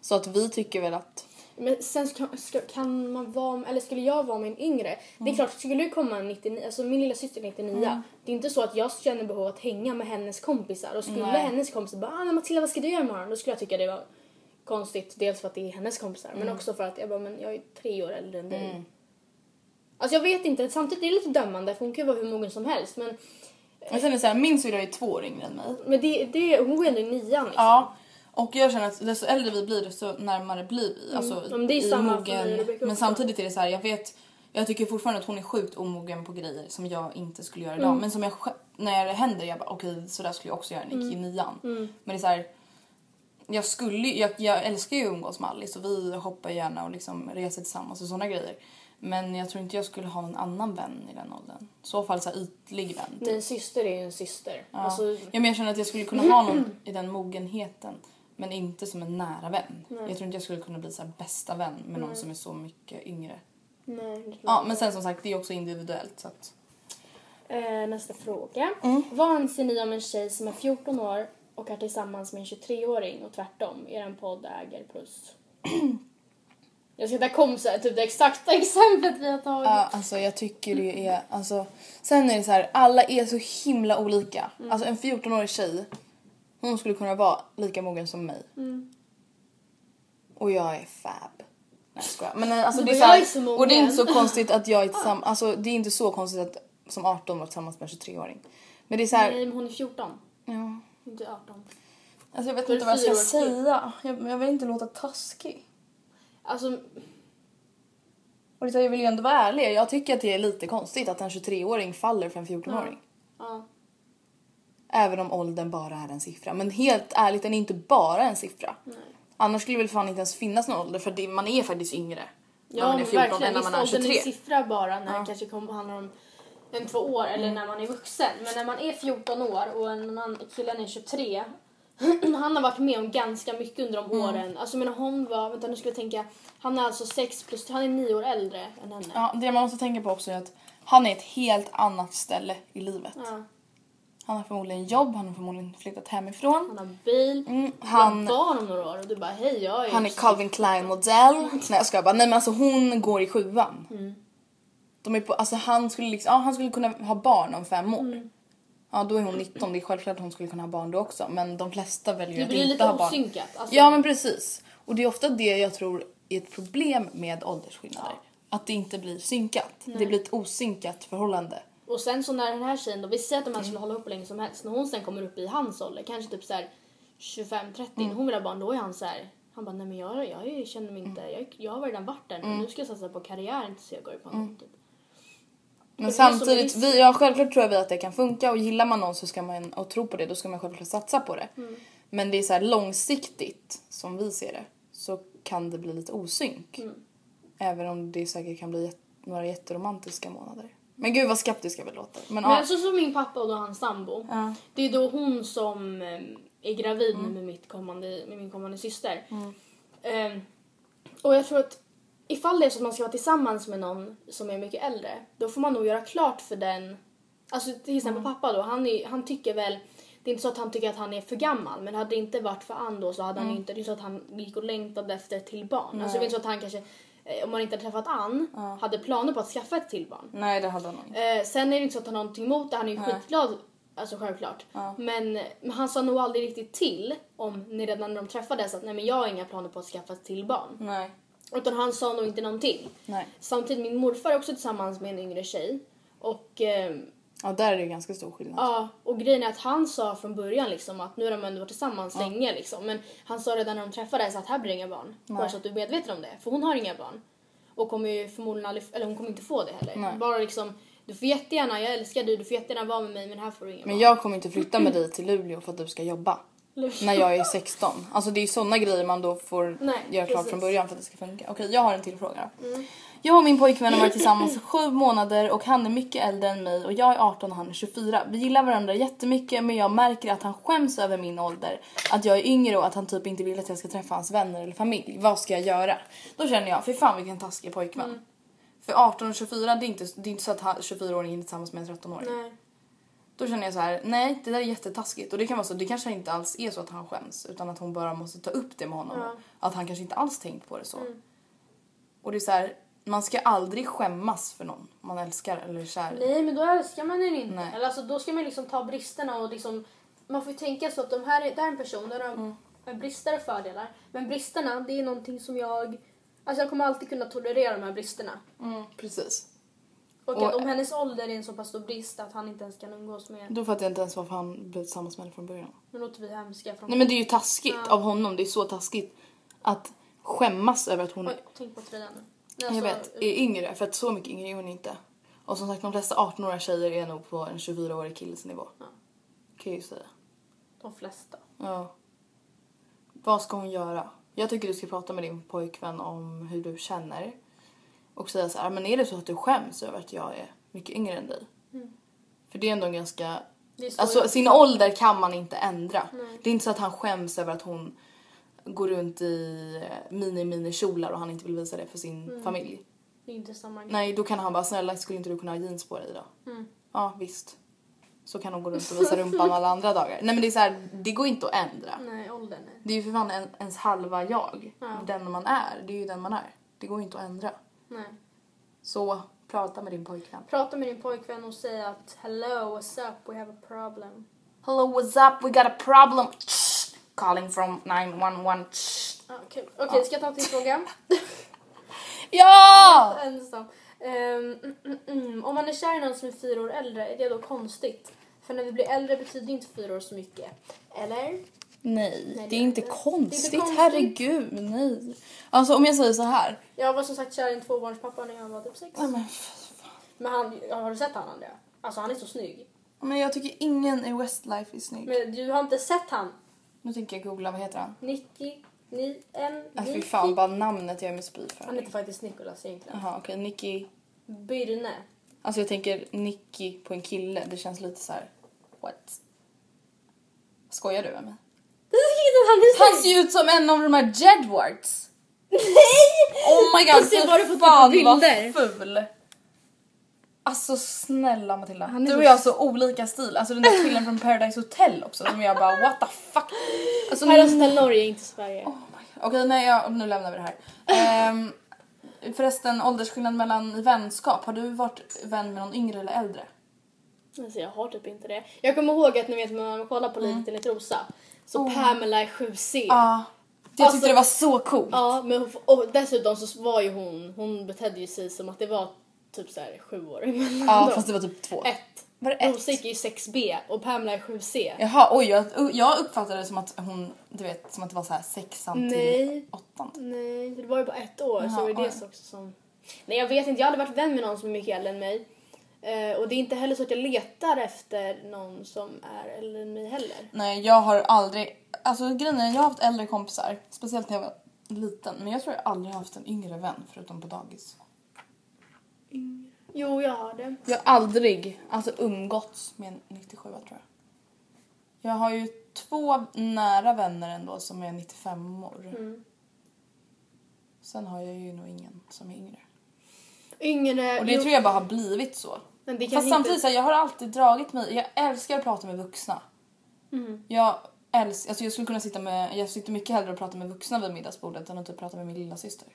Så att vi tycker väl att
Men sen ska, ska, kan man vara, eller skulle jag vara med en yngre?
Mm.
Det är klart, skulle det komma en 99, alltså min lilla syster är 99. Det är inte så att jag känner behov att hänga med hennes kompisar. Och skulle hennes kompisar bara ah, men “Matilda vad ska du göra imorgon?” Då skulle jag tycka det var konstigt. Dels för att det är hennes kompisar
Mm.
men också för att jag bara “men jag är tre år äldre än dig”. Alltså jag vet inte, samtidigt är det lite dömande för hon kan ju vara hur mogen som helst men,
jag känner såhär, min syrra är två år yngre än mig.
men det, det, hon går ju ändå i nian liksom.
Ja. Och jag känner att desto äldre vi blir desto närmare blir vi. Alltså,
Mm. Ja, men det är ju
i
samma för
mogen.
mig och Rebecca
Men
också.
samtidigt är det så här, jag vet, jag tycker fortfarande att hon är sjukt omogen på grejer som jag inte skulle göra
Mm.
idag. Men som jag sj- när det händer, jag bara okej så där skulle jag också göra när jag gick i
Mm.
nian. Men det är så här, jag skulle jag, jag älskar ju att umgås med Alice och vi hoppar gärna och liksom reser tillsammans och sådana grejer. Men jag tror inte jag skulle ha någon annan vän i den åldern. I så fall så här ytlig vän. typ.
Men en syster är ju en syster. Alltså,
Ja, men jag känner att jag skulle kunna ha någon i den mogenheten. Men inte som en nära vän. Jag tror inte jag skulle kunna bli så här bästa vän med någon som är så mycket yngre.
nej,
Ja, men sen som sagt, det är också individuellt. Så att...
Eh, nästa fråga.
Mm.
Vad anser ni om en tjej som är 14 år och är tillsammans med en 23-åring och tvärtom? Er podd äger puss. Jag ska ta kom så här, typ det exakta exemplet vi har tagit.
Ja, alltså jag tycker det är... Alltså, sen är det så här, alla är så himla olika.
Mm.
Alltså en 14-årig tjej, hon skulle kunna vara lika mogen som mig.
Mm.
Och jag är fab. Nej jag skojar. Men eh, alltså
Du
det är
bara,
så
"Jag är så
här,
mogen." Ah.
Och det är inte så konstigt att jag är tillsammans... Alltså det är inte så konstigt att som 18 vara tillsammans med en 23-åring. Men det är så här...
Nej, men hon är 14.
Ja.
Inte 18.
Alltså jag vet
Då är
inte vad jag
det
ska
fyra år till.
säga. Jag, jag vill inte låta taskig.
Alltså,
Och det är så här, jag vill ju ändå vara ärlig. Jag tycker att det är lite konstigt att en 23-åring faller för en 14-åring.
ja.
Även om åldern bara är en siffra. Men helt ärligt, den är inte bara en siffra. Annars skulle det väl fan inte ens finnas någon ålder för det, man är faktiskt yngre.
Ja,
när man är
men
14 än
verkligen.
när
Visst,
man är
åldern är
23.
en siffra bara när det kanske kommer handlar om en två år
Mm.
eller när man är vuxen. Men när man är 14 år och en annan killen är 23. han har varit med om ganska mycket under
Mm.
de åren. Alltså men hon var, vänta nu ska jag tänka. Han är alltså 6 plus, han är 9 år äldre än henne.
Ja, det man måste tänka på också är att han är ett helt annat ställe i livet. Han har förmodligen jobb, han har förmodligen flyttat hemifrån.
Han har bil,
Mm,
han
han,
har barn om några år och du bara hej jag är
han är Calvin Klein modell. Nej jag skojar bara, nej men alltså hon går i sjuan.
Mm.
De är på, alltså han skulle liksom, ja han skulle kunna ha barn om fem år.
Mm.
Ja då är hon 19, det är självklart att hon skulle kunna ha barn då också men de flesta väljer
Det
att
blir
inte
lite
ha barn.
osynkat. Alltså,
Ja men precis. Och det är ofta det jag tror är ett problem med ålderskillnader. Att det inte blir synkat. Det blir ett osynkat förhållande.
Och sen så när den här tjejen då, vi säger att de här skulle
Mm.
hålla ihop hur länge som helst. När hon sen kommer upp i hans ålder, kanske typ såhär 25-30,
Mm.
när hon vill ha barn, då är han så här. Han bara, nej men jag, jag, är- känner mig
Mm.
inte, jag, jag har redan varit där nu. Nu ska jag satsa på karriären tills jag går i pension typ.
Mm. Men
det är så
samtidigt,
med risk.
vi, ja, självklart tror jag vi att det kan funka och gillar man någon så ska man, och tror på det, då ska man självklart satsa på det.
Mm.
Men det är så här långsiktigt, som vi ser det, så kan det bli lite osynk.
Mm.
Även om det säkert kan bli jät- några jätteromantiska månader. Men gud vad skeptiska vi låter. Men,
Men alltså,
ja,
så som min pappa och då hans sambo. Det är då hon som eh, är gravid
Mm.
nu med, mitt kommande, med min kommande syster. Eh, och jag tror att ifall det är så att man ska vara tillsammans med någon som är mycket äldre, då får man nog göra klart för den. Alltså till exempel
Mm.
pappa då, han, är, han tycker väl det är inte så att han tycker att han är för gammal men hade det inte varit för Ann då så hade
Mm.
han inte, det är så att han gick och längtade efter ett till barn. Alltså det är inte så att han kanske, eh, om han inte hade träffat Ann, hade planer på att skaffa ett till barn.
nej det hade han nog inte.
Eh, sen är det inte så att han har någonting emot det, han är ju skitglad. Alltså självklart. Men, men han sa nog aldrig riktigt till om ni redan när de träffades att nej men jag har inga planer på att skaffa ett till barn.
Nej.
Utan han sa nog inte någonting.
Mm. Nej.
Samtidigt, min morfar är också tillsammans med en yngre tjej. Och, eh,
Ja, där är det ju ganska stor skillnad.
ja, och grejen är att han sa från början liksom att nu har de ändå varit tillsammans länge liksom. Men han sa redan när de träffades att här blir det inga barn. Bara så att du är medveten om det. För hon har inga barn. Och kommer ju förmodligen aldrig, eller hon kommer inte få det heller. Bara liksom, du får jättegärna, jag älskar dig, du får jättegärna vara med mig men här får du inga
Men
barn.
jag kommer inte flytta med dig till Luleå för att du ska jobba.
Luleå.
När jag är 16. Alltså det är ju sådana grejer man då får
Nej,
göra klart
precis.
från
Mm.
början för att det ska funka. Okej, jag har en till fråga då. Jag och min pojkvän har varit tillsammans i sju månader och han är mycket äldre än mig och jag är 18 och han är 24. Vi gillar varandra jättemycket men jag märker att han skäms över min ålder. Att jag är yngre och att han typ inte vill att jag ska träffa hans vänner eller familj. Vad ska jag göra? Då känner jag, för fan vilken taskig pojkvän.
Mm.
För 18 och 24, det är inte, det är inte så att han- 24-åringen är tillsammans med en 13-åring.
Nej.
Då känner jag så här, nej det där är jättetaskigt. Och det kan vara så, det kanske inte alls är så att han skäms. Utan att hon bara måste ta upp det med honom. Att han kanske inte alls tänkt på det så.
Mm.
Och det är så här, man ska aldrig skämmas för någon man älskar eller är kär i.
Nej men då älskar man den inte.
Nej.
Eller alltså, då ska man liksom ta bristerna och liksom, man får ju tänka så att de här, är- det här är en person, där de
Mm.
har brister och fördelar. Men bristerna det är någonting som jag, alltså jag kommer alltid kunna tolerera de här bristerna.
Mm, precis.
Och,
Och-
att om hennes ålder är en så pass stor brist att han inte ens kan umgås med,
Då fattar jag inte ens varför han blev tillsammans med henne från början.
nu låter vi hemska från
Nej men det är ju taskigt av honom, det är så taskigt. Att skämmas över att hon
Oj, tänk på tröjan nu. Nej,
jag
alltså,
vet, är yngre. För att så mycket yngre är hon inte. Och som sagt de flesta 18-åriga tjejer är nog på en 24-årig killes nivå. Kan jag ju säga.
De flesta.
Ja. Vad ska hon göra? Jag tycker du ska prata med din pojkvän om hur du känner. Och säga så här, "Ah, men är det så att du skäms över att jag är mycket yngre än dig? För det är ändå en ganska...
Det är så
Alltså
jag-
sin ålder kan man inte ändra. Det är inte så att han skäms över att hon går runt i mini-mini-kjolar och han inte vill visa det för sin familj.
Det är inte samma grej.
Nej, då kan han bara snälla skulle inte du kunna ha jeans på dig då? Ja, visst. Så kan hon gå runt och visa rumpan alla andra dagar. Nej men det är så här, det går inte att ändra.
Nej, åldern nej.
Det är ju för fan en, ens halva jag. Den man är, det är ju den man är. Det går ju inte att ändra.
nej.
Så prata med din pojkvän.
Prata med din pojkvän och säg att hello, what's up, we have a problem.
Hello, what's up? We got a problem. Calling from 911.
Ah, kul. Okej, ska jag ta en till fråga?
Ja!
Ensam. Ehm, mm, mm, mm. Om man är kär i någon som är fyra år äldre, är det då konstigt? För när vi blir äldre betyder inte fyra år så mycket. Eller?
Nej, det
det
är
är
inte
det.
konstigt.
Det är inte konstigt.
Herregud, nej. Alltså om jag säger så här.
Jag var som sagt kär i en tvåbarnspappa när jag var typ sex.
Nej, men,
Men han, ja, har du sett han Andrea? Alltså han är så snygg.
men jag tycker ingen i Westlife är snygg.
Men du har inte sett han?
Nu tänker jag googla, vad heter han?
Nicky, ni, en,
Alltså fy
Nicky.
fan, bara namnet gör mig spy för.
Han heter faktiskt Nicolas egentligen.
Jaha okej, Nicky. Mm.
Byrne.
Alltså jag tänker Nicky på en kille, det känns lite så här. what? Skojar du med mig?
Det är så inte att han är
Han
snygg!
ser ju ut som en av de här Jedwards!
Nej!
Oh my god,
Du ser
fy
bara på typ
fan
bilder.
vad ful! Alltså snälla Matilda,
Han är
du
så-
och jag har så olika stil. Alltså den där killen från Paradise Hotel också som jag bara what the fuck. Alltså,
Här har snäll Norge, inte Sverige.
Okej, nej, jag, nu lämnar vi det här. Ehm, förresten, åldersskillnad mellan i vänskap. Har du varit vän med någon yngre eller äldre?
Alltså jag har typ inte det. Jag kommer ihåg att ni vet när man kollar på Livet enligt Rosa så Pamela är 7C.
Mm. Ja. Jag tyckte
Alltså-
det var så coolt.
Ja, men hon, och dessutom så var ju hon, hon betedde ju sig som att det var typ så här sju år emellan
Ja
dem.
fast det var typ två.
Ett.
Var det ett?
Rosa gick ju 6B och Pamela är 7C.
Jaha oj jag, jag uppfattade det som att hon, du vet som att det var så här sexan till
Nej.
åttan. typ.
Nej, det var ju bara ett år
Jaha,
så var det
oj.
det också som... Nej jag vet inte, jag hade varit vän med någon som är mycket äldre än mig. Eh, och det är inte heller så att jag letar efter någon som är äldre än mig heller.
Nej jag har aldrig, alltså grejen är jag har haft äldre kompisar, speciellt när jag var liten. Men jag tror jag aldrig har haft en yngre vän förutom på dagis.
Jo, jag har det.
Jag har aldrig alltså, umgåtts med en 97 tror jag. Jag har ju två nära vänner ändå som är 95-or. Sen har jag ju nog ingen som är yngre.
Yngre...
Och det
jo,
tror jag bara har blivit så.
Men det kanske
Fast
inte-
samtidigt, så här, jag har alltid dragit mig... Jag älskar att prata med vuxna.
Mm.
Jag älskar... Alltså jag skulle kunna sitta med... Jag sitter mycket hellre och prata med vuxna vid middagsbordet än att typ prata med min lilla syster.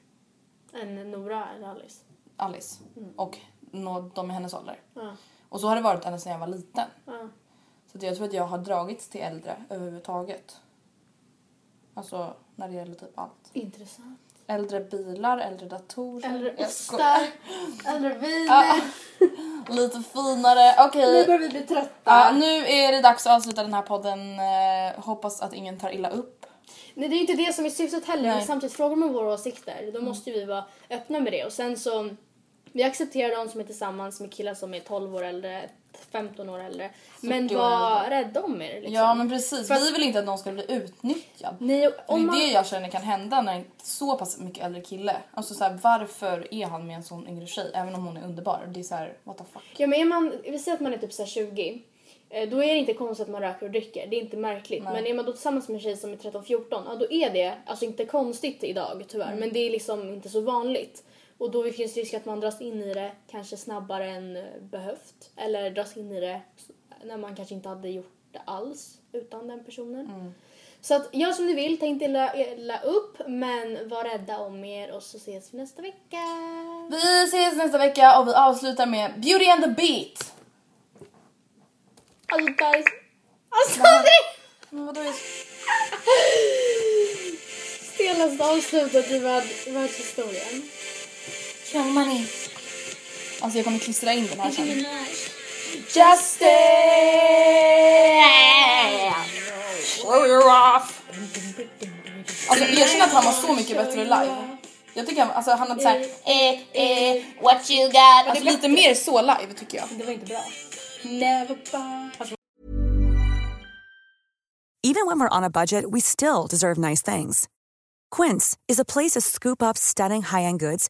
En Nora eller Alice.
Alice och nå- de i hennes ålder.
Ja.
Och så har det varit ända sedan jag var liten.
Ja.
Så att jag tror att jag har dragits till äldre överhuvudtaget. Alltså när det gäller typ allt.
Intressant.
Äldre bilar, äldre datorer.
Äldre
Jag skojar.
ostar. Äldre viner.
Ja. Lite finare. Okej.
Nu börjar vi bli trötta.
Ja, nu är det dags att avsluta den här podden. Eh, hoppas att ingen tar illa upp.
Nej, det är inte det som är syftet heller.
Nej. Mm.
Men samtidigt, frågar man våra åsikter, då måste ju vi vara öppna med det. Och sen så, vi accepterar de som är tillsammans med killar som är 12 år äldre, 15 år äldre. Men
40 år
var rädda om er liksom.
Ja men precis.
För att-
Vi vill inte att någon ska bli utnyttjad.
Nej,
Det är
om man,
det jag känner kan hända när en så pass mycket äldre kille. Alltså så här, varför är han med en sån yngre tjej? Även om hon är underbar. Det är så här, what the fuck.
ja, men är man, vi säger att man är typ så här 20. eh, Då är det inte konstigt att man röker och dricker, det är inte märkligt. Men är man då tillsammans med en tjej som är 13-14, ja då är det alltså inte konstigt idag tyvärr. Men det är liksom inte så vanligt. Och då finns det risk att man dras in i det kanske snabbare än eh, behövt. Eller dras in i det s- när man kanske inte hade gjort det alls utan den personen. Så att gör som ni vill, tänk inte illa, illa upp men var rädda om er och så ses vi nästa vecka.
Vi ses nästa vecka och vi avslutar med Beauty and the Beat.
Alltså guys, alltså det!
Men vadå, jag-
Senaste avslutet i värld, världshistorien.
Alltså jag kommer klistra in den här sen. Alltså jag känner att han var så mycket bättre live. Jag tycker han, alltså han hade såhär eh, eh, what you got. Alltså lite mer så live tycker jag.
Det var inte bra.
Even when we're on a budget, we still deserve nice things. Quince is a place to scoop up stunning high end goods